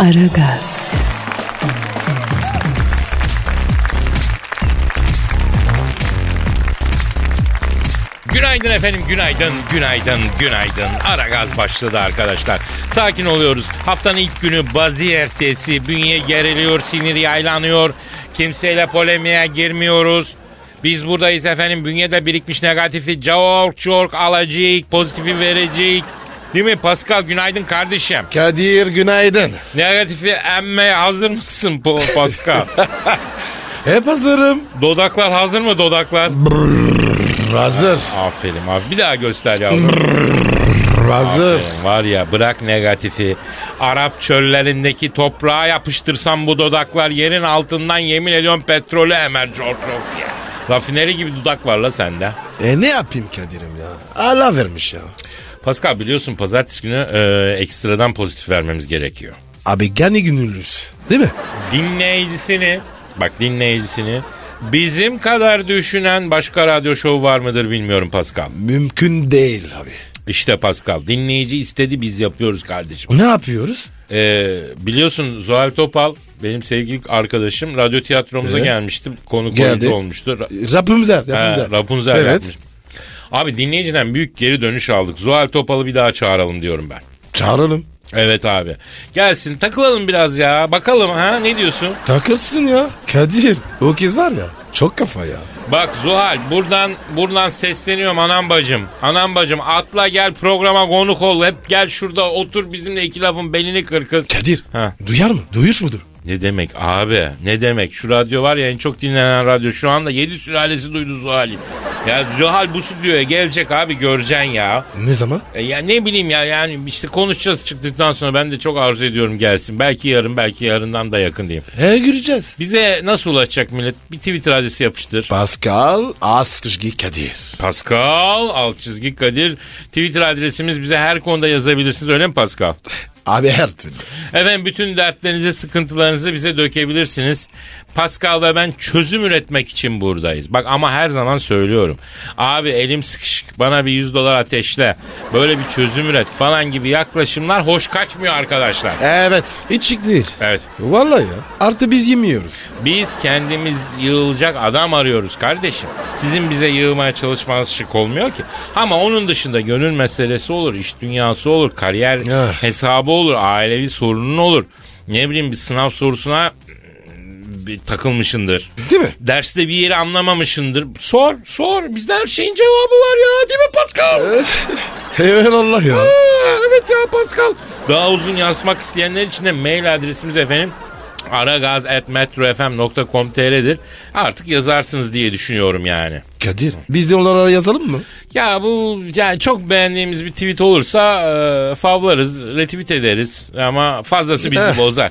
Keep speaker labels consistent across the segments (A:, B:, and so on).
A: Aragaz,
B: Günaydın efendim, günaydın, günaydın, günaydın. Ara gaz başladı arkadaşlar. Sakin oluyoruz. Haftanın ilk günü bazı ertesi. Bünye geriliyor, sinir yaylanıyor. Kimseyle polemiğe girmiyoruz. Biz buradayız efendim. Bünyede birikmiş negatifi çok çok alacak, pozitifi verecek. Değil mi Pascal? Günaydın kardeşim.
C: Kadir günaydın.
B: Negatifi emmeye hazır mısın Po- Pascal?
C: Hep hazırım.
B: dodaklar hazır mı dodaklar?
C: Hazır.
B: Aferin abi. Bir daha göster yavrum.
C: Hazır.
B: Ee, Var ya bırak negatifi. Arap çöllerindeki toprağa yapıştırsam bu dudaklar yerin altından yemin ediyorum petrolü emer George Rock ya. Rafineri gibi dudak var la sende.
C: E ne yapayım Kadir'im ya? Allah vermiş ya.
B: Pascal biliyorsun pazartesi günü e, ekstradan pozitif vermemiz gerekiyor.
C: Abi gani günülüz. Değil mi?
B: Dinleyicisini bak dinleyicisini bizim kadar düşünen başka radyo şovu var mıdır bilmiyorum Pascal.
C: Mümkün değil abi.
B: İşte Pascal dinleyici istedi biz yapıyoruz kardeşim.
C: Ne yapıyoruz?
B: Ee, biliyorsun Zuhal Topal benim sevgili arkadaşım radyo tiyatromuza
C: Ee?
B: gelmişti. Konuk
C: Geldi.
B: oyuncu olmuştu. Ra-
C: Rapunzel.
B: Ha,
C: Rapunzel.
B: Rapunzel
C: evet.
B: yapmış. Abi dinleyiciden büyük geri dönüş aldık. Zuhal Topal'ı bir daha çağıralım diyorum ben.
C: Çağıralım.
B: Evet abi. Gelsin takılalım biraz ya. Bakalım ha ne diyorsun?
C: Takılsın ya. Kadir. O kız var ya. Çok kafa ya.
B: Bak Zuhal buradan buradan sesleniyorum anam bacım. Anam bacım atla gel programa konuk ol. Hep gel şurada otur bizimle iki lafın belini kır kız.
C: Kadir.
B: Ha.
C: Duyar mı? Duyuş mudur?
B: Ne demek abi? Ne demek? Şu radyo var ya en çok dinlenen radyo. Şu anda 7 sülalesi duydu Zuhal'i. Ya Zuhal bu stüdyoya gelecek abi göreceksin ya.
C: Ne zaman?
B: E ya ne bileyim ya yani işte konuşacağız çıktıktan sonra ben de çok arzu ediyorum gelsin. Belki yarın belki yarından da yakın diyeyim.
C: He göreceğiz.
B: Bize nasıl ulaşacak millet? Bir Twitter adresi yapıştır.
C: Pascal Askışgi Kadir.
B: Pascal alt çizgi Kadir. Twitter adresimiz bize her konuda yazabilirsiniz öyle mi Pascal?
C: Abi her türlü.
B: Efendim bütün dertlerinizi, sıkıntılarınızı bize dökebilirsiniz. Pascal ve ben çözüm üretmek için buradayız. Bak ama her zaman söylüyorum. Abi elim sıkışık bana bir 100 dolar ateşle. Böyle bir çözüm üret falan gibi yaklaşımlar hoş kaçmıyor arkadaşlar.
C: Evet. Hiç şık değil.
B: Evet.
C: Vallahi ya. Artı biz yemiyoruz.
B: Biz kendimiz yığılacak adam arıyoruz kardeşim. Sizin bize yığmaya çalışmanız şık olmuyor ki. Ama onun dışında gönül meselesi olur, iş dünyası olur, kariyer
C: Ah.
B: hesabı olur, ailevi sorunun olur. Ne bileyim bir sınav sorusuna mm, bir takılmışındır.
C: Değil mi?
B: Derste bir yeri anlamamışındır. Sor, sor. Bizde her şeyin cevabı var ya. Değil mi Pascal?
C: Eyvallah ya.
B: Aa, evet ya Pascal. Daha uzun yazmak isteyenler için de mail adresimiz efendim aragaz.metrofm.com.tr'dir. Artık yazarsınız diye düşünüyorum yani.
C: Kadir biz de onlara yazalım mı?
B: Ya bu yani çok beğendiğimiz bir tweet olursa e, favlarız, retweet ederiz ama fazlası bizi
C: Eh.
B: bozar.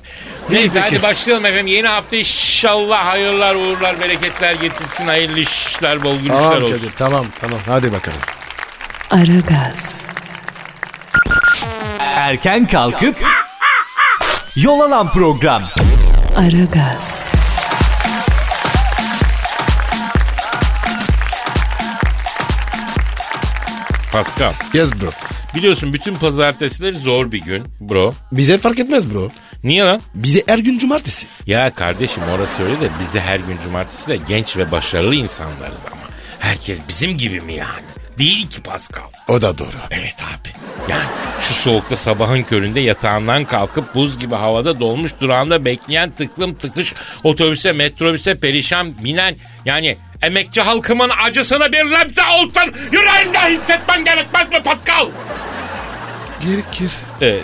B: Neyse
C: fikir.
B: hadi başlayalım efendim. Yeni hafta inşallah hayırlar, uğurlar, bereketler getirsin. Hayırlı işler, bol gülüşler
C: Tamam
B: olsun.
C: Kadir tamam tamam hadi bakalım.
A: Aragaz,
D: Erken kalkıp yol alan program.
A: Aragaz,
B: Pascal,
C: Yes bro.
B: biliyorsun bütün pazartesileri zor bir gün bro.
C: Bize fark etmez bro.
B: Niye lan?
C: Bize her gün cumartesi.
B: Ya kardeşim orası öyle de bizi her gün cumartesi de genç ve başarılı insanlarız ama. Herkes bizim gibi mi yani? Değil ki Pascal.
C: O da doğru.
B: Evet abi. Yani şu soğukta sabahın köründe yatağından kalkıp buz gibi havada dolmuş durağında bekleyen tıklım tıkış otobüse metrobüse perişan binen yani emekçi halkımın acısını bir nebze olsun yüreğinde hissetmen gerekmez mi Pascal?
C: Gerekir.
B: Evet.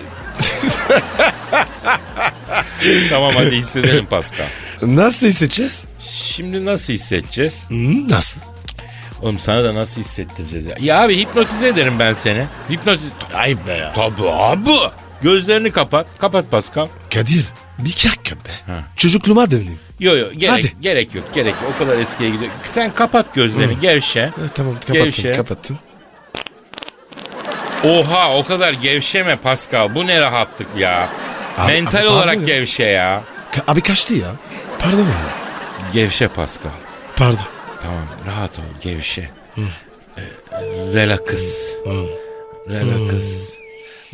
B: tamam hadi hissedelim Pascal.
C: Nasıl hissedeceğiz?
B: Şimdi nasıl hissedeceğiz?
C: Hı, Nasıl?
B: Oğlum sana da nasıl hissettireceğiz ya? Ya abi hipnotize ederim ben seni. Hipnotize...
C: Ayıp be ya.
B: Tabii abi. Gözlerini kapat. Kapat Pascal.
C: Kadir bir dakika be. Çocukluğuma döndüm.
B: Yo yo gerek,
C: Hadi.
B: gerek yok gerek yok. O kadar eskiye gidiyor. Sen kapat gözlerini gevşe.
C: E, tamam kapattım
B: Gevşe.
C: kapattım.
B: Oha o kadar gevşeme Pascal. Bu ne rahatlık ya.
C: Abi-
B: Mental
C: abi-
B: olarak
C: abi-
B: gevşe ya.
C: Ka- abi kaçtı ya. Pardon ya.
B: Gevşe Pascal.
C: Pardon.
B: Tamam rahat ol gevşe. Ee, Relax. Relax.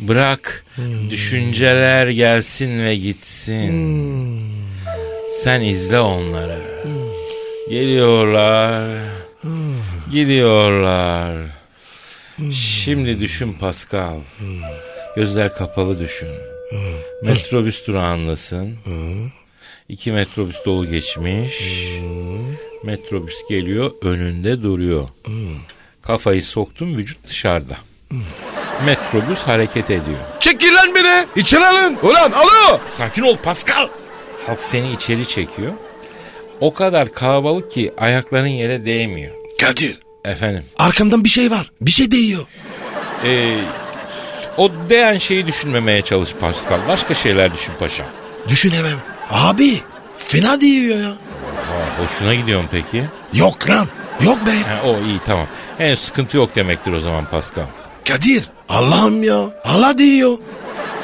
B: Bırak düşünceler gelsin ve gitsin. Sen izle onları. Geliyorlar. Gidiyorlar. Şimdi düşün Pascal. Gözler kapalı düşün. Metrobüs durağındasın. İki metrobüs dolu geçmiş. Metrobüs geliyor önünde duruyor. Kafayı soktun vücut dışarıda. Metrobüs hareket ediyor.
C: Çekil lan beni. İçeri alın. Ulan alo.
B: Sakin ol Pascal. Halk seni içeri çekiyor. O kadar kalabalık ki ayakların yere değmiyor.
C: Kadir.
B: Efendim.
C: Arkamdan bir şey var. Bir şey değiyor.
B: ee, o değen şeyi düşünmemeye çalış Pascal. Başka şeyler düşün paşa.
C: Düşünemem. Abi fena değiyor ya.
B: Aa, hoşuna gidiyor mu peki?
C: Yok lan. Yok be.
B: Ha, o iyi tamam. Henüz sıkıntı yok demektir o zaman Pascal.
C: Kadir. Allah'ım ya. Allah değiyor.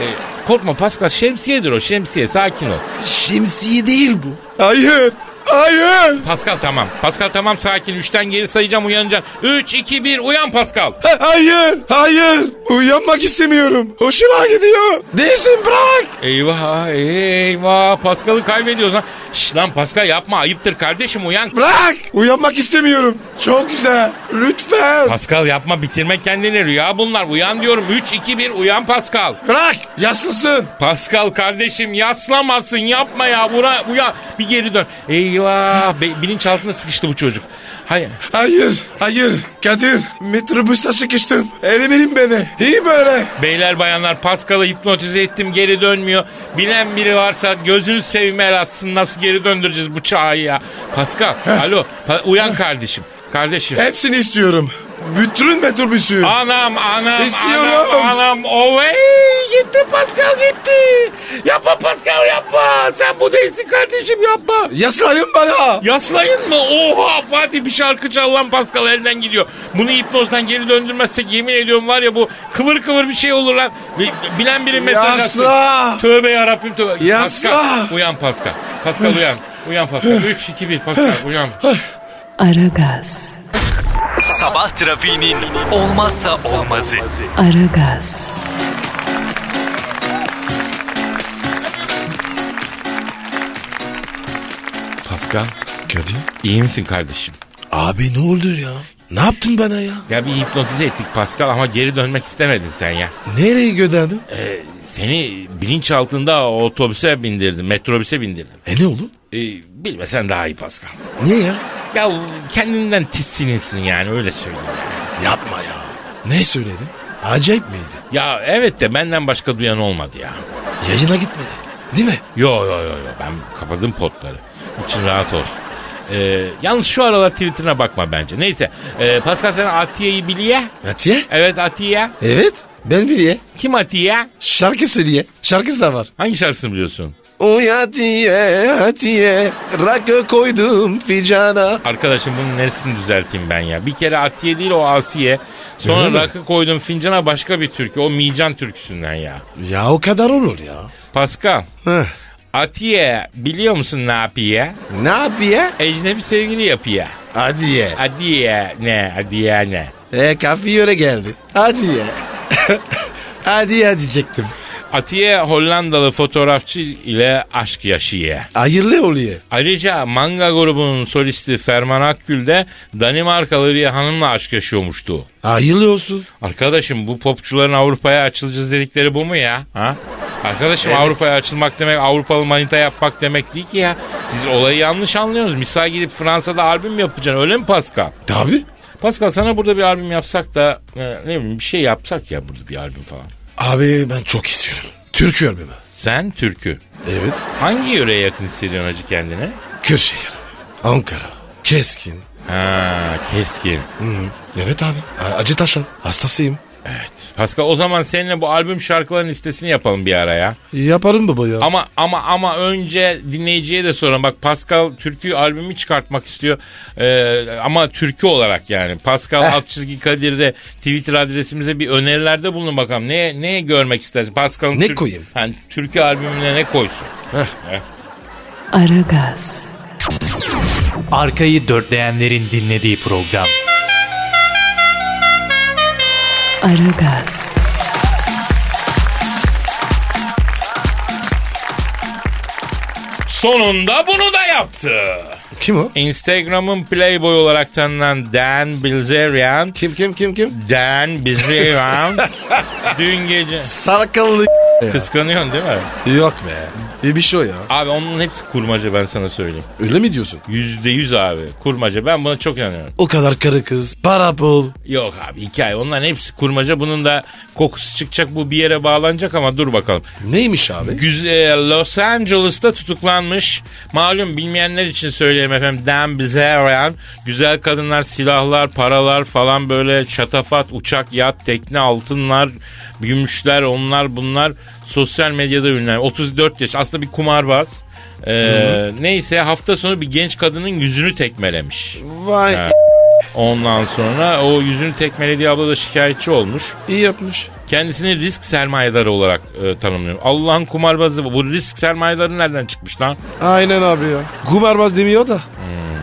B: Ee, korkma Pascal şemsiyedir o şemsiye sakin ol.
C: Şemsiye değil bu. Hayır. Hayır.
B: Pascal tamam. Pascal tamam sakin. Üçten geri sayacağım uyanacaksın. Üç, iki, bir uyan Pascal.
C: Ha- Hayır. Hayır. Uyanmak istemiyorum. Hoşuma gidiyor. Değilsin bırak.
B: Eyvah eyvah Pascal'ı kaybediyoruz lan. Şş lan Pascal yapma ayıptır kardeşim uyan.
C: Bırak. Uyanmak istemiyorum. Çok güzel. Lütfen.
B: Pascal yapma bitirme kendini rüya bunlar uyan diyorum. Üç, iki, bir uyan Pascal.
C: Bırak. Yaslısın.
B: Pascal kardeşim yaslamasın yapma ya bura uyan. Bir geri dön. Eyvah be, bilinçaltına sıkıştı bu çocuk. Hayır.
C: Hayır. Hayır. Kadir. Metrobüste sıkıştım. Elimin beni. İyi böyle.
B: Beyler bayanlar Pascal'ı hipnotize ettim geri dönmüyor. Bilen biri varsa gözünü seveyim el atsın nasıl geri döndüreceğiz bu çağı ya. Pascal alo pa- uyan kardeşim. Kardeşim.
C: Hepsini istiyorum. Bütün metrobüsü.
B: Anam anam
C: İstiyorum.
B: anam anam ovey gitti Pascal gitti. Yapma Pascal yapma sen bu değilsin kardeşim yapma.
C: Yaslayın bana.
B: Yaslayın mı? Oha Fatih bir şarkı çal lan Pascal elden gidiyor. Bunu hipnozdan geri döndürmezsek yemin ediyorum var ya bu kıvır kıvır bir şey olur lan. Bi- Bilen biri mesaj atsın.
C: Yasla.
B: Tövbe yarabbim tövbe.
C: Yasla.
B: Pascal, uyan Pascal. Pascal uyan. Uyan Pascal. 3, 2, 1 Pascal uyan.
A: Aragaz,
D: Sabah trafiğinin olmazsa olmazı.
A: Aragaz,
B: Pascal
C: Kadir.
B: iyi misin kardeşim?
C: Abi ne oldu ya? Ne yaptın bana ya?
B: Ya bir hipnotize ettik Pascal ama geri dönmek istemedin sen ya.
C: Nereye gönderdin?
B: Ee, seni bilinçaltında otobüse bindirdim, metrobüse bindirdim.
C: E ne oldu?
B: Ee, bilmesen daha iyi Pascal.
C: Niye ya?
B: Ya kendinden tissinilsin yani öyle söyleyeyim.
C: Yapma ya. Ne söyledim? Acayip miydi?
B: Ya evet de benden başka duyan olmadı ya.
C: Yayına gitmedi. Değil mi?
B: Yo yo yo yo ben kapadım potları. İçin rahat olsun. Ee, yalnız şu aralar Twitter'ına bakma bence. Neyse. Ee, Pascal sen Atiye'yi biliye.
C: Atiye?
B: Evet Atiye.
C: Evet. Ben biliye.
B: Kim Atiye?
C: Şarkı söyleye. Şarkısı da var.
B: Hangi şarkısını biliyorsun?
C: Oy Atiye, Atiye. Rakı koydum ficana.
B: Arkadaşım bunun neresini düzelteyim ben ya? Bir kere Atiye değil o Asiye. Sonra
C: Öyle mi?
B: rakı koydum fincana başka bir türkü. O Mican türküsünden ya.
C: Ya o kadar olur ya.
B: Pascal. Atiye biliyor musun ne yapıyor?
C: Ne yapıyor?
B: Ecnebi sevgili yapıyor.
C: Hadi ye.
B: Adiye ne? Adiye ne?
C: E kafi öyle geldi. Hadi ye. hadi ye diyecektim.
B: Atiye Hollandalı fotoğrafçı ile aşk yaşıyor.
C: Hayırlı oluyor.
B: Ayrıca Manga grubunun solisti Ferman Akgül de Danimarkalı bir hanımla aşk yaşıyormuştu.
C: Hayırlı olsun.
B: Arkadaşım bu popçuların Avrupa'ya açılacağız dedikleri bu mu ya? Ha? Arkadaşım
C: Evet.
B: Avrupa'ya açılmak demek Avrupalı manita yapmak demek değil ki ya. Siz olayı yanlış anlıyorsunuz. Misal gidip Fransa'da albüm yapacaksın öyle mi Pascal?
C: Tabi.
B: Pascal sana burada bir albüm yapsak da e, ne bileyim bir şey yapsak ya burada bir albüm falan.
C: Abi ben çok istiyorum. Türkü albümü.
B: Sen türkü.
C: Evet.
B: Hangi yöreye yakın hissediyorsun acı kendine?
C: Kırşehir, Ankara, Keskin,
B: Ha keskin.
C: Evet abi. A- Acı taşan. Hastasıyım.
B: Evet. Pascal o zaman seninle bu albüm şarkıların listesini yapalım bir ara ya.
C: Yaparım baba ya.
B: Ama ama ama önce dinleyiciye de soralım. Bak Pascal türkü albümü çıkartmak istiyor. Ee, ama türkü olarak yani.
C: Eh.
B: Pascal alt çizgi Kadir'de Twitter adresimize bir önerilerde bulun bakalım. Ne ne görmek istersin? Pascal'ın
C: Ne
B: tür-
C: koyayım?
B: Yani türkü albümüne ne koysun?
A: Aragaz,
D: Arkayı dörtleyenlerin dinlediği program.
A: Aragaz,
B: Sonunda bunu da yaptı.
C: Kim o?
B: Instagram'ın Playboy olarak tanınan Dan Bilzerian
C: Kim kim kim kim?
B: Dan Bilzerian dün gece
C: Sarakalı
B: kıskanıyorsun değil mi?
C: Yok be. İyi bir şey o ya.
B: Abi onun hepsi kurmaca ben sana söyleyeyim.
C: Öyle mi diyorsun?
B: Yüzde yüz abi. Kurmaca. Ben buna çok inanıyorum.
C: O kadar karı kız. Para pul.
B: Yok abi hikaye. Onların hepsi kurmaca. Bunun da kokusu çıkacak. Bu bir yere bağlanacak ama dur bakalım.
C: Neymiş abi?
B: Güzel Los Angeles'ta tutuklanmış. Malum bilmeyenler için söyleyeyim efendim. Dan Bilzerian. Güzel kadınlar, silahlar, paralar falan böyle çatafat, uçak, yat, tekne, altınlar, gümüşler, onlar bunlar. Sosyal medyada ünlü. 34 yaş. Aslında bir kumarbaz. Ee, neyse hafta sonu bir genç kadının yüzünü tekmelemiş.
C: Vay
B: Ha. Ondan sonra o yüzünü tekmelediği abla da şikayetçi olmuş.
C: iyi yapmış.
B: Kendisini risk sermayedarı olarak e, tanımlıyor. Allah'ın kumarbazı bu. Bu risk sermayedarı nereden çıkmış lan?
C: Aynen abi ya. Kumarbaz demiyor da. Hmm.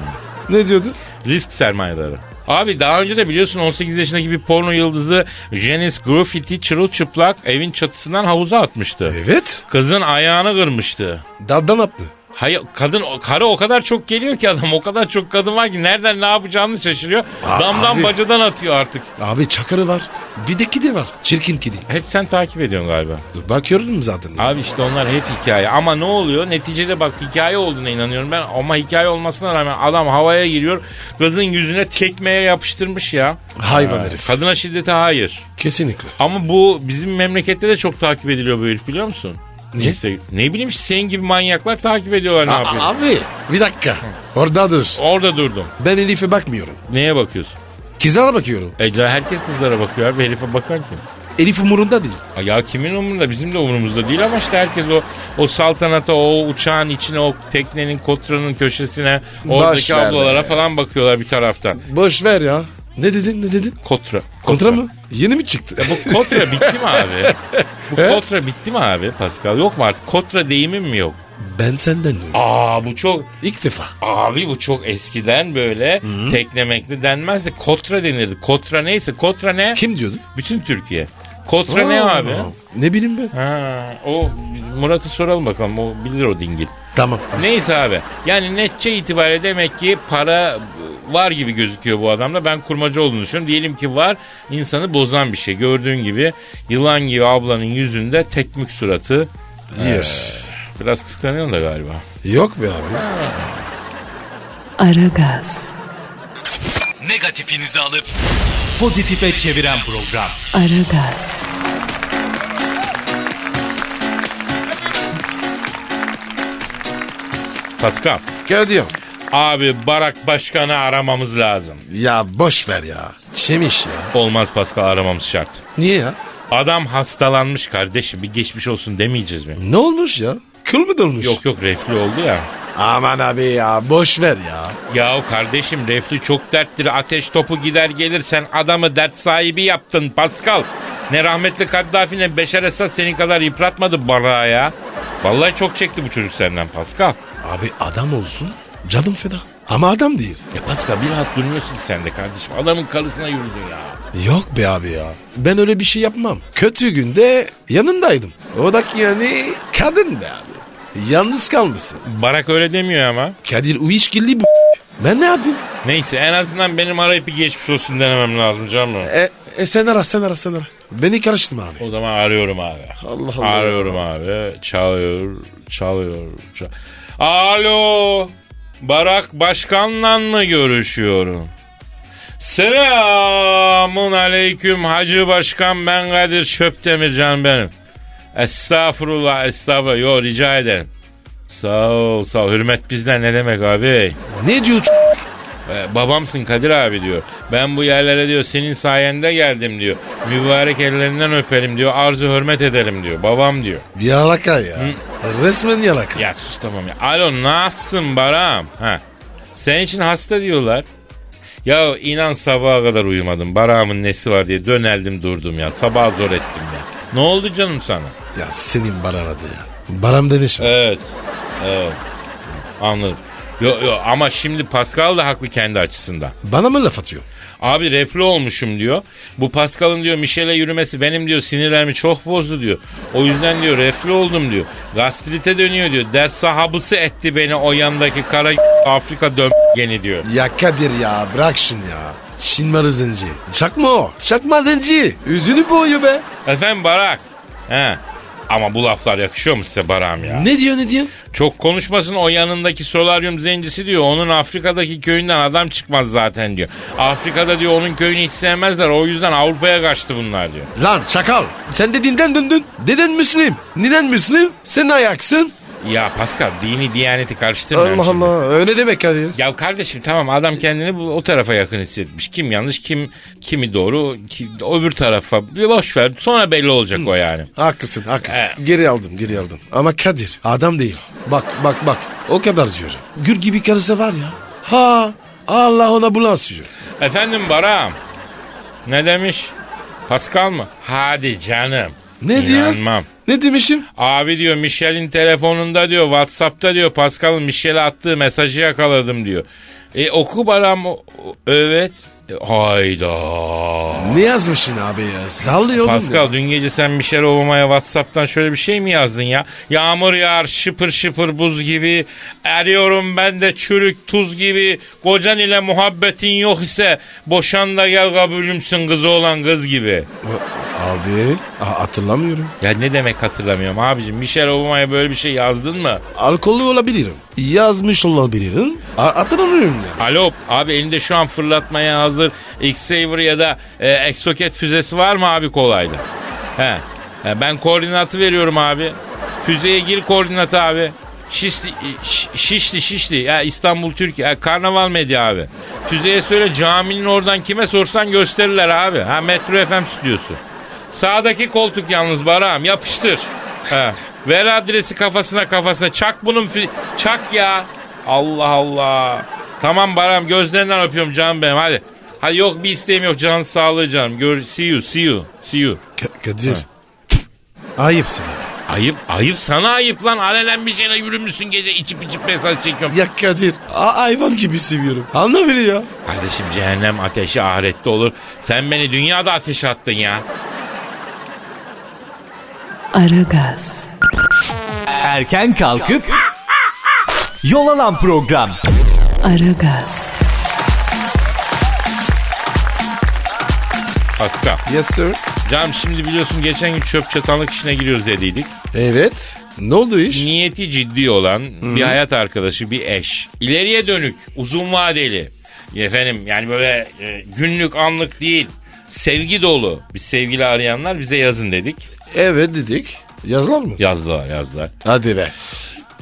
C: Ne diyordu?
B: Risk sermayedarı. Abi daha önce de biliyorsun 18 yaşındaki bir porno yıldızı Janice Graffiti çırılçıplak evin çatısından havuza atmıştı.
C: Evet.
B: Kızın ayağını kırmıştı.
C: Daddan yaptı.
B: Hayır kadın o- karı o kadar çok geliyor ki adam o kadar çok kadın var ki nereden ne yapacağını şaşırıyor.
C: Aa,
B: Damdan
C: abi.
B: bacadan atıyor artık.
C: Abi çakarı var. Bir de kedi var. Çirkin kedi.
B: Hep sen takip ediyorsun galiba.
C: Bakıyorum zaten.
B: Abi işte onlar hep hikaye. Ama ne oluyor? Neticede bak hikaye olduğuna inanıyorum ben. Ama hikaye olmasına rağmen adam havaya giriyor. Kızın yüzüne tekmeye yapıştırmış ya.
C: Hayvan herif.
B: Kadına şiddete hayır.
C: Kesinlikle.
B: Ama bu bizim memlekette de çok takip ediliyor bu herif biliyor musun?
C: Niye?
B: İşte ne bileyim işte senin gibi manyaklar takip ediyorlar ne yapıyor.
C: abi bir dakika. Orada dur.
B: Orada durdum.
C: Ben Elif'e bakmıyorum.
B: Neye bakıyorsun?
C: Kızlara bakıyorum.
B: Ece herkes kızlara bakıyor abi herife bakan kim?
C: Elif umurunda değil.
B: Ay Ya kimin umurunda bizim de umurumuzda değil ama işte herkes o o saltanata o uçağın içine o teknenin kotranın köşesine oradaki
C: ver
B: ablalara
C: be.
B: falan bakıyorlar bir taraftan.
C: Boş ver ya. Ne dedin ne dedin?
B: Kotra.
C: Kontra mı? Yeni mi çıktı?
B: Bu kotra bitti mi abi? Bu kotra bitti mi abi Pascal? Yok mu artık? Kotra deyimim mi yok?
C: Ben senden duydum.
B: Aa bu çok
C: İlk defa.
B: abi bu çok eskiden böyle teknemekli denmezdi. Kotra denirdi. Kotra neyse kotra ne?
C: Kim diyordu?
B: Bütün Türkiye. Kotra ne
C: Aa,
B: abi?
C: Ne bileyim ben.
B: Ha, o Murat'ı soralım bakalım. O bilir o dingil.
C: Tamam.
B: Neyse abi. Yani netçe itibariyle demek ki para e, var gibi gözüküyor bu adamda. Ben kurmacı olduğunu düşünüyorum. Diyelim ki var insanı bozan bir şey. Gördüğün gibi yılan gibi ablanın yüzünde tekmük suratı.
C: Yes.
B: Biraz kıskanıyorsun da galiba.
C: Yok be abi.
A: Aragaz,
D: Negatifinizi alıp pozitife çeviren program.
A: Aragaz,
B: Paskal.
C: Gel diyorum.
B: Abi Barak Başkan'ı aramamız lazım.
C: Ya boş ver ya. Çemiş ya.
B: Olmaz Paskal aramamız şart.
C: Niye ya?
B: Adam hastalanmış kardeşim. Bir geçmiş olsun demeyeceğiz mi?
C: Ne olmuş ya? Kıl mı dolmuş?
B: Yok yok reflü oldu ya.
C: Aman abi ya boş ver ya.
B: Yahu kardeşim reflü çok derttir. Ateş topu gider gelir. Sen adamı dert sahibi yaptın Pascal. Ne rahmetli Kaddafi ne Beşer Esad senin kadar yıpratmadı bana ya. Vallahi çok çekti bu çocuk senden Pascal.
C: Abi adam olsun canım feda. Ama adam değil.
B: Ya Pascal bir rahat durmuyorsun ki sen de kardeşim. Adamın karısına yürüdün ya.
C: Yok be abi ya. Ben öyle bir şey yapmam. Kötü günde yanındaydım. Odaki yani kadın be abi. Yalnız kalmışsın.
B: Barak öyle demiyor ama.
C: Kadir uyuşkilli bu. Ben ne yapayım?
B: Neyse en azından benim arayıp bir geçmiş olsun denemem lazım canım.
C: E, e sen ara sen ara sen ara. Beni karıştırma abi.
B: O zaman arıyorum abi.
C: Allah Allah.
B: Arıyorum abi. Çalıyor, çalıyor. çal- Alo. Barak Başkan'la mı görüşüyorum? Selamun aleyküm Hacı Başkan ben Kadir Çöpdemircan benim. Estağfurullah estağfurullah. Yo rica ederim. Sağ ol sağ ol. Hürmet bizden ne demek abi?
C: Ne diyor ç-
B: E, babamsın Kadir abi diyor. Ben bu yerlere diyor senin sayende geldim diyor. Mübarek ellerinden öperim diyor. Arzu hürmet ederim diyor. Babam diyor.
C: Yalaka ya. Resmen yalaka.
B: Ya sus tamam ya. Alo nasılsın Baram? Ha. Senin için hasta diyorlar. Ya inan sabaha kadar uyumadım. Baram'ın nesi var diye döneldim durdum ya. Sabaha zor ettim ya. Ne oldu canım sana?
C: Ya senin baran adı ya. Baram demiş.
B: Evet. Evet. Anladım. Yo, yo, ama şimdi Pascal da haklı kendi açısından.
C: Bana mı laf atıyor?
B: Abi reflü olmuşum diyor. Bu Pascal'ın diyor Michel'e yürümesi benim diyor sinirlerimi çok bozdu diyor. O yüzden diyor reflü oldum diyor. Gastrite dönüyor diyor. Ders sahabısı etti beni o yandaki kara Afrika dömgeni diyor.
C: Ya Kadir ya bırak şunu ya. Çinmarı zenci. Çakma o. Çakma zenci. Üzünü boğuyor be.
B: Efendim Barak. He. Ama bu laflar yakışıyor mu size Barak'ım ya?
C: Ne diyor ne diyor?
B: Çok konuşmasın o yanındaki solaryum zencisi diyor. Onun Afrika'daki köyünden adam çıkmaz zaten diyor. Afrika'da diyor onun köyünü hiç sevmezler. O yüzden Avrupa'ya kaçtı bunlar diyor.
C: Lan çakal. Sen de dinden döndün. Neden Müslüm? Neden Müslüm? Sen ayaksın.
B: Ya Pascal dini diyaneti karıştırmayalım
C: Allah
B: şimdi.
C: Allah. Öyle demek Kadir.
B: Ya kardeşim tamam adam kendini bu, o tarafa yakın hissetmiş. Kim yanlış kim kimi doğru ki, öbür tarafa boş ver sonra belli olacak o yani.
C: Haklısın haklısın.
B: He.
C: Geri aldım geri aldım. Ama Kadir adam değil. Bak bak bak o kadar diyorum. Gül gibi karısı var ya. Ha Allah ona bulasıyor.
B: Efendim Baram ne demiş? Pascal mı? Hadi canım.
C: Ne diyor?
B: İnanmam.
C: Ne demişim?
B: Abi diyor Michel'in telefonunda diyor WhatsApp'ta diyor Pascal'ın Michel'e attığı mesajı yakaladım diyor. E oku Baram o- o- evet. E, hayda.
C: Ne yazmışsın abi ya? Sallıyor oğlum
B: Pascal
C: ya.
B: dün gece sen Michelle Obama'ya Whatsapp'tan şöyle bir şey mi yazdın ya? Yağmur yağar şıpır şıpır buz gibi. Eriyorum ben de çürük tuz gibi. Kocan ile muhabbetin yok ise boşan da gel kabulümsün kızı olan kız gibi.
C: A- Abi a- hatırlamıyorum.
B: Ya ne demek hatırlamıyorum abicim. Michelle Obama'ya böyle bir şey yazdın mı?
C: Alkollü olabilirim. Yazmış olabilirim. A- hatırlamıyorum ya.
B: Alo abi elinde şu an fırlatmaya hazır X-Saver ya da e, Exocet füzesi var mı abi kolayda? He. He, ben koordinatı veriyorum abi. Füzeye gir koordinatı abi. Şişli, Şi- şişli, şişli. Ya İstanbul Türkiye. Ya Karnaval Medya abi. Füzeye söyle caminin oradan kime sorsan gösterirler abi. Ha Metro FM stüdyosu. Sağdaki koltuk yalnız Barak'ım yapıştır. He. Ver adresi kafasına kafasına. Çak bunun fi- çak ya. Allah Allah. Tamam Barak'ım gözlerinden öpüyorum canım benim hadi. Hadi yok bir isteğim yok canın sağlığı canım. Gör, see you see you see you.
C: Ka- Kadir. Ayıp sana. be.
B: Ayıp ayıp sana ayıp lan. Alelen bir şeyle yürümüşsün gece içip içip mesaj çekiyorum.
C: Ya Kadir. A- hayvan gibi seviyorum. Anla beni ya.
B: Kardeşim cehennem ateşi ahirette olur. Sen beni dünyada ateşe attın ya.
A: Aragaz,
D: Erken kalkıp yol alan program.
A: Aragaz,
B: Pascal.
C: Yes sir.
B: Canım şimdi biliyorsun geçen gün çöp çatanlık işine giriyoruz dediydik.
C: Evet. Ne oldu iş?
B: Niyeti ciddi olan bir hayat arkadaşı, bir eş. İleriye dönük, uzun vadeli. Efendim yani böyle e, günlük anlık değil. Sevgi dolu bir sevgili arayanlar bize yazın dedik.
C: Evet dedik. Yazılar mı?
B: Yazdılar yazdılar.
C: Hadi be.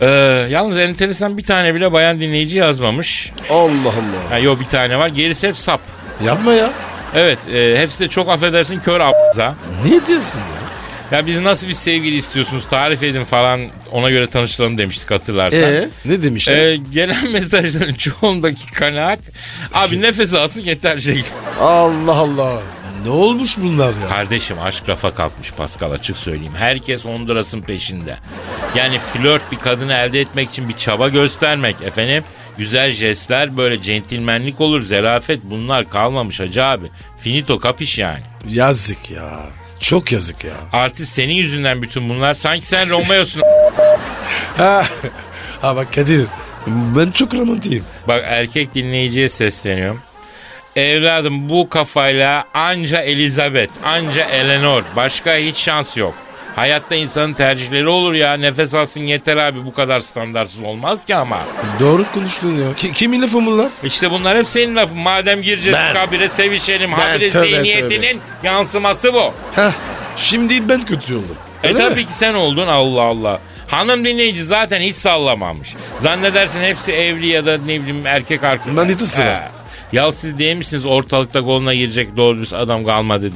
B: Ee, yalnız enteresan bir tane bile bayan dinleyici yazmamış.
C: Allah Allah.
B: Ha, yo bir tane var. Gerisi hep sap.
C: Yapma ya.
B: Evet e, hepsi de çok affedersin kör a**za.
C: Ne diyorsun ya?
B: Ya biz nasıl bir sevgili istiyorsunuz tarif edin falan ona göre tanıştıralım demiştik hatırlarsan.
C: Ee, ne demişler?
B: Ee, gelen mesajların çoğundaki kanaat abi nefes alsın yeter şey.
C: Allah Allah. Ne olmuş bunlar ya?
B: Kardeşim aşk rafa kalkmış Pascal açık söyleyeyim. Herkes Honduras'ın peşinde. Yani flört bir kadını elde etmek için bir çaba göstermek efendim. Güzel jestler böyle centilmenlik olur zerafet bunlar kalmamış hacı abi. Finito kapış yani.
C: Yazık ya. Çok yazık ya.
B: Artı senin yüzünden bütün bunlar sanki sen Romeo'sun.
C: Ha, ha bak Kadir. Ben çok romantiyim.
B: Bak erkek dinleyiciye sesleniyorum. Evladım bu kafayla anca Elizabeth, anca Eleanor. Başka hiç şans yok. Hayatta insanın tercihleri olur ya. Nefes alsın yeter abi. Bu kadar standartsız olmaz ki ama.
C: Doğru konuştun ya. Ki, kimin lafı bunlar?
B: İşte bunlar hep senin lafın. Madem gireceğiz
C: Ben-
B: kabire sevişelim. Habire
C: tövbe,
B: zihniyetinin yansıması bu.
C: Heh, şimdi ben kötü oldum.
B: E
C: Öyle
B: tabii
C: mi?
B: ki sen oldun Allah Allah. Hanım dinleyici zaten hiç sallamamış. Zannedersin hepsi evli ya da ne bileyim erkek arkadaşı.
C: Manitası var.
B: Ha, Ya siz değil misiniz ortalıkta koluna girecek doğru dürüst adam kalmadı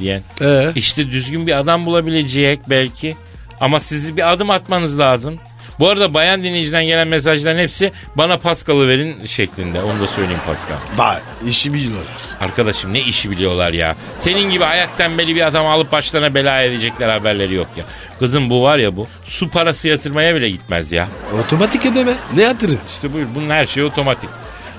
B: diye.
C: Ee?
B: İşte düzgün bir adam bulabilecek belki. Ama sizi bir adım atmanız lazım. Bu arada bayan dinleyiciden gelen mesajların hepsi bana Paskal'ı verin şeklinde. Onu da söyleyeyim Paskal.
C: Vay işi biliyorlar.
B: Arkadaşım ne işi biliyorlar ya. Senin gibi ayak tembeli bir adam alıp başlarına bela edecekler haberleri yok ya. Kızım bu var ya bu. Su parası yatırmaya bile gitmez ya.
C: Otomatik ödeme. Ne yatırım?
B: İşte buyur bunun her şeyi otomatik.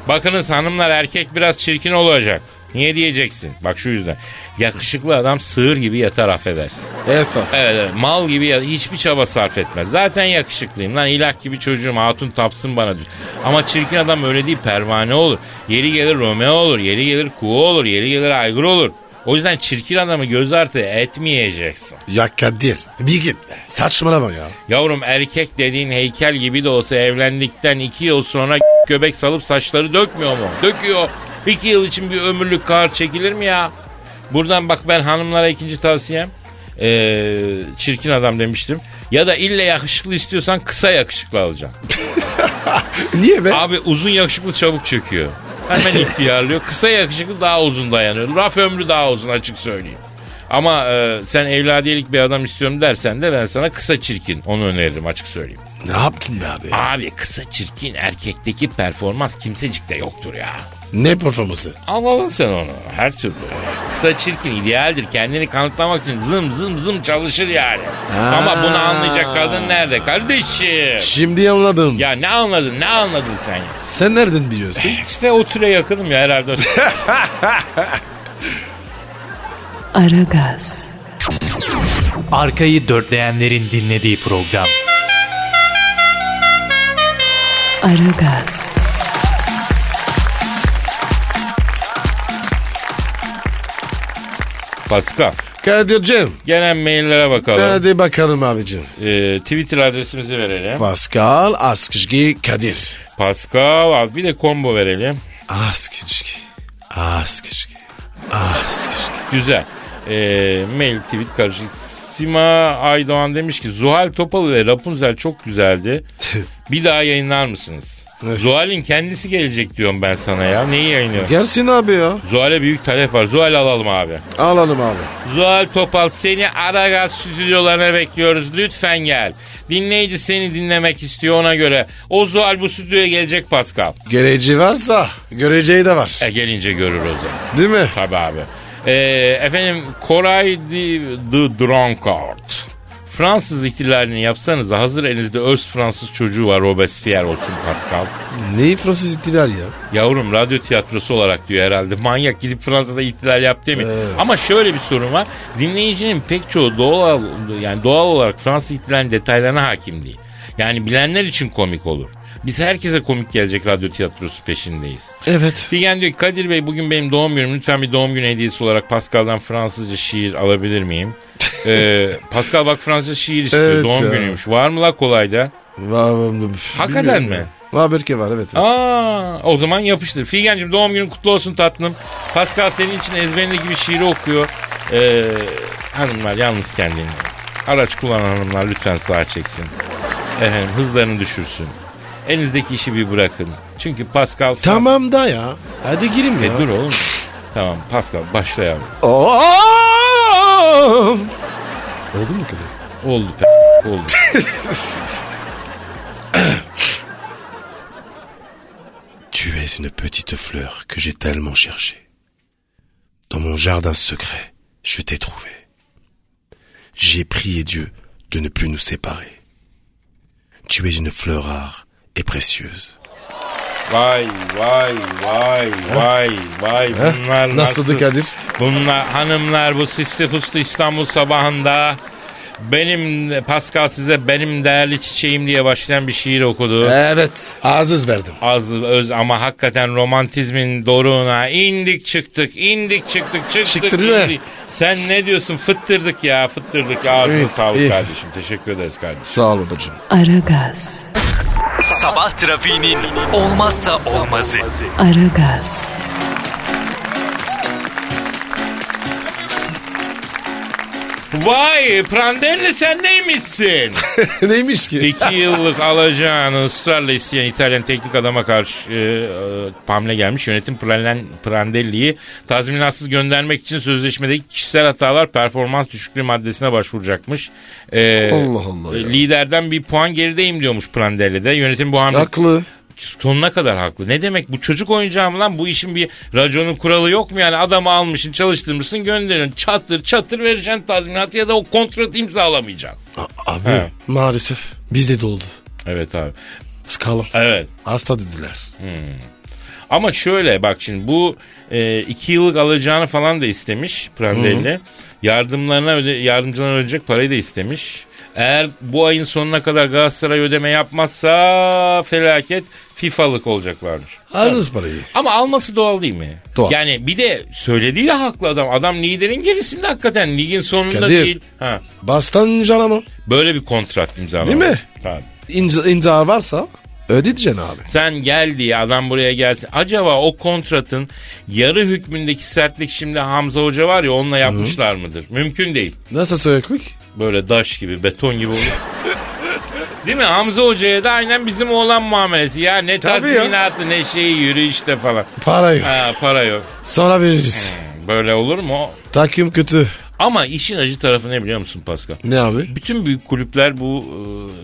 B: Bakınız hanımlar erkek biraz çirkin olacak. Niye diyeceksin? Bak şu yüzden. Yakışıklı adam sığır gibi yatar affedersin.
C: Esnaf.
B: Evet, evet, mal gibi ya- hiçbir çaba sarf etmez. Zaten yakışıklıyım lan ilah gibi çocuğum hatun tapsın bana diyor. Ama çirkin adam öyle değil pervane olur. Yeri gelir Romeo olur, yeri gelir kuğu olur, yeri gelir aygır olur. O yüzden çirkin adamı göz ardı etmeyeceksin.
C: Ya Kadir bir git. be. Saçmalama ya.
B: Yavrum erkek dediğin heykel gibi de olsa evlendikten iki yıl sonra göbek salıp saçları dökmüyor mu? Döküyor. İki yıl için bir ömürlük kar çekilir mi ya? Buradan bak ben hanımlara ikinci tavsiyem. Ee, çirkin adam demiştim. Ya da ille yakışıklı istiyorsan kısa yakışıklı alacaksın.
C: Niye be?
B: Abi uzun yakışıklı çabuk çöküyor. Hemen ihtiyarlıyor. Kısa yakışıklı daha uzun dayanıyor. Raf ömrü daha uzun açık söyleyeyim. Ama e, sen evladiyelik bir adam istiyorum dersen de ben sana kısa çirkin onu öneririm açık söyleyeyim.
C: Ne yaptın be abi?
B: Abi kısa çirkin erkekteki performans kimsecikte yoktur ya.
C: Ne performansı?
B: Al al sen onu her türlü. Kısa çirkin idealdir. Kendini kanıtlamak için zım zım zım çalışır yani. Ama bunu anlayacak kadın nerede kardeşim?
C: Şimdi anladım.
B: Ya ne anladın ne anladın sen ya?
C: Sen nereden biliyorsun?
B: İşte o türe yakınım ya herhalde.
A: Aragaz,
D: Arkayı dörtleyenlerin dinlediği program.
A: Aragaz,
B: Pascal
C: Kadir'cim.
B: gelen maillere bakalım.
C: Hadi bakalım abicim.
B: Ee, Twitter adresimizi verelim.
C: Pascal Askışgi Kadir.
B: Pascal abi bir de combo verelim.
C: Askışgi. Askışgi. Askışgi.
B: Güzel. Ee, mail tweet karışık. Sima Aydoğan demiş ki Zuhal Topal ile Rapunzel çok güzeldi. Bir daha yayınlar mısınız?
C: Evet.
B: Zuhal'in kendisi gelecek diyorum ben sana ya. Neyi yayınlıyorsun?
C: Gelsin abi ya.
B: Zuhal'e büyük talep var. Zuhal alalım abi.
C: Alalım abi.
B: Zuhal Topal seni Aragaz stüdyolarına bekliyoruz. Lütfen gel. Dinleyici seni dinlemek istiyor ona göre. O Zuhal bu stüdyoya gelecek Pascal.
C: Göreci varsa göreceği de var.
B: E gelince görür o zaman.
C: Değil mi?
B: Tabii abi. Ee, efendim Koray the, the Drunkard. Fransız ihtilalini yapsanız hazır elinizde öz Fransız çocuğu var Robespierre olsun Pascal.
C: Neyi Fransız ittiler ya?
B: Yavrum radyo tiyatrosu olarak diyor herhalde. Manyak gidip Fransa'da ihtilal yaptı mı? Ama şöyle bir sorun var. Dinleyicinin pek çoğu doğal yani doğal olarak Fransız ihtilalinin detaylarına hakim değil. Yani bilenler için komik olur. Biz herkese komik gelecek radyo tiyatrosu peşindeyiz.
C: Evet.
B: Figen diyor ki Kadir Bey bugün benim doğum günüm. Lütfen bir doğum günü hediyesi olarak Pascal'dan Fransızca şiir alabilir miyim? ee, Pascal bak Fransızca şiir istiyor.
C: Evet
B: doğum
C: ya.
B: günüymüş. Var mı la kolayda? Hakikaten mi?
C: Var belki var evet.
B: Aa, o zaman yapıştır. Figen'cim doğum günün kutlu olsun tatlım. Pascal senin için ezberindeki bir şiiri okuyor. Ee, hanımlar yalnız kendini. Araç kullanan hanımlar lütfen sağa çeksin. Efendim hızlarını düşürsün. Elinizdeki işi bir bırakın. Çünkü Pascal...
C: Tamam da ya. Hadi girin
B: E
C: ya.
B: dur oğlum. Tamam Pascal başlayalım.
C: Oo! Oldu mu kadın?
B: Oldu p- oldu.
C: Tu es une petite fleur que j'ai tellement cherchée. Dans mon jardin secret, je t'ai trouvée. J'ai prié Dieu de ne plus nous séparer. Tu es une fleur rare et précieuse.
B: Vay vay vay vay vay bunlar
C: Nasıldı Kadir?
B: Bunlar hanımlar bu sisli puslu İstanbul sabahında benim Pascal size benim değerli çiçeğim diye başlayan bir şiir okudu.
C: Evet. Aziz verdim.
B: Az öz ama hakikaten romantizmin doruğuna indik çıktık indik çıktık çıktık.
C: Çıktı değil mi?
B: indik. Sen ne diyorsun fıttırdık ya fıttırdık ağzına
C: İyi,
B: sağlık
C: iyi.
B: kardeşim teşekkür ederiz kardeşim.
C: Sağ ol babacığım.
A: Aragaz,
D: Sabah trafiğinin olmazsa olmazı.
A: Aragaz,
B: Vay Prandelli sen neymişsin?
C: Neymiş ki?
B: İki yıllık alacağını ısrarla isteyen İtalyan teknik adama karşı e, e, hamle gelmiş. Yönetim Pralen- Prandelli'yi tazminatsız göndermek için sözleşmedeki kişisel hatalar performans düşüklüğü maddesine başvuracakmış. E,
C: Allah Allah
B: e,
C: ya.
B: Liderden bir puan gerideyim diyormuş Prandelli de. Yönetim bu hamle
C: Haklı.
B: sonuna kadar haklı. Ne demek bu çocuk oyuncağı mı lan? Bu işin bir raconun kuralı yok mu yani? Adamı almışsın çalıştırmışsın gönderiyorsun. Çatır çatır vereceksin tazminatı ya da o kontratı imzalamayacaksın.
C: A- abi
B: He.
C: maalesef bizde de oldu.
B: Evet abi.
C: Skala.
B: Evet.
C: Hasta dediler.
B: Ama şöyle bak şimdi bu e, iki yıllık alacağını falan da istemiş Prandelli. Yardımlarına öde, yardımcılarına ödeyecek parayı da istemiş. Eğer bu ayın sonuna kadar Galatasaray ödeme yapmazsa felaket FIFA'lık olacaklarmış.
C: Alırız parayı.
B: Ama alması doğal değil mi?
C: Doğal.
B: Yani bir de söylediği de haklı adam. Adam liderin gerisinde hakikaten ligin sonunda
C: Kadir.
B: değil. Ha,
C: Bastan incelama.
B: böyle bir kontrat imzalamak.
C: Değil mi?
B: Tabii.
C: İnca, incar varsa ödeyeceksin abi.
B: Sen gel diye adam buraya gelsin. Acaba o kontratın yarı hükmündeki sertlik şimdi Hamza Hoca var ya onunla yapmışlar mıdır? Mümkün değil.
C: Nasıl soyaklık?
B: Böyle daş gibi, beton gibi olur. Değil mi? Hamza Hoca'ya da aynen bizim oğlan muamelesi. Ya ne
C: Tabii ya.
B: tazminatı ne şeyi yürü işte falan.
C: Para yok.
B: Ha, para yok.
C: Sonra veririz.
B: Böyle olur mu?
C: Takım kötü.
B: Ama işin acı tarafı ne biliyor musun Pascal?
C: Ne abi?
B: Bütün büyük kulüpler bu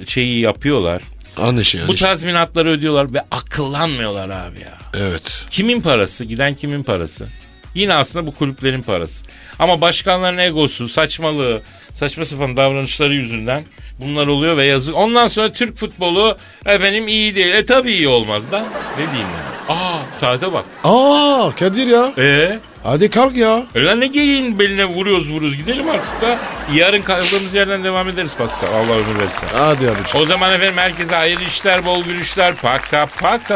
B: e, şeyi yapıyorlar.
C: Anlaşıyor.
B: Bu tazminatları ödüyorlar ve akıllanmıyorlar abi ya.
C: evet.
B: Kimin parası? Giden kimin parası? Yine aslında bu kulüplerin parası. Ama başkanların egosu, saçmalığı, saçma sapan davranışları yüzünden bunlar oluyor ve yazık. Ondan sonra Türk futbolu efendim iyi değil. E tabii iyi olmaz da. Ne diyeyim yani? Aa saate bak.
C: Aa Kadir ya.
B: Eee?
C: Hadi kalk ya.
B: E lan ne geyiğin beline vuruyoruz vuruyoruz gidelim artık da. Yarın kaldığımız yerden devam ederiz Pascal. Allah ömür versin.
C: Hadi abi.
B: O zaman efendim herkese hayırlı işler, bol gülüşler. Paka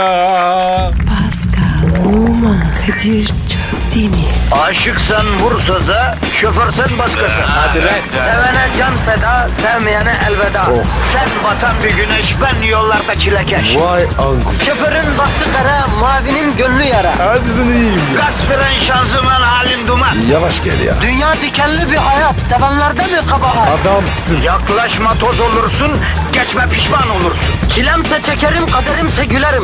B: paka.
A: Pascal, Oman, Kadir çok değil mi?
E: Aşıksan vursa da, şoförsen başkasın. Hadi Sevene can feda, sevmeyene elveda. Sen batan bir güneş, ben yollarda çilekeş.
C: Vay anku.
E: Şoförün baktı kara, mavinin gönlü yara.
C: Hadi sen iyiyim ya.
E: Kasperen şanzıman halin duman.
C: Yavaş gel ya.
E: Dünya dikenli bir hayat, sevenlerde mi kabahar?
C: Adamsın.
E: Yaklaşma toz olursun, geçme pişman olursun. Çilemse çekerim, kaderimse gülerim.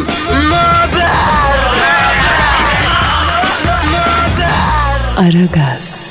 E: Möber!
A: Aragaz.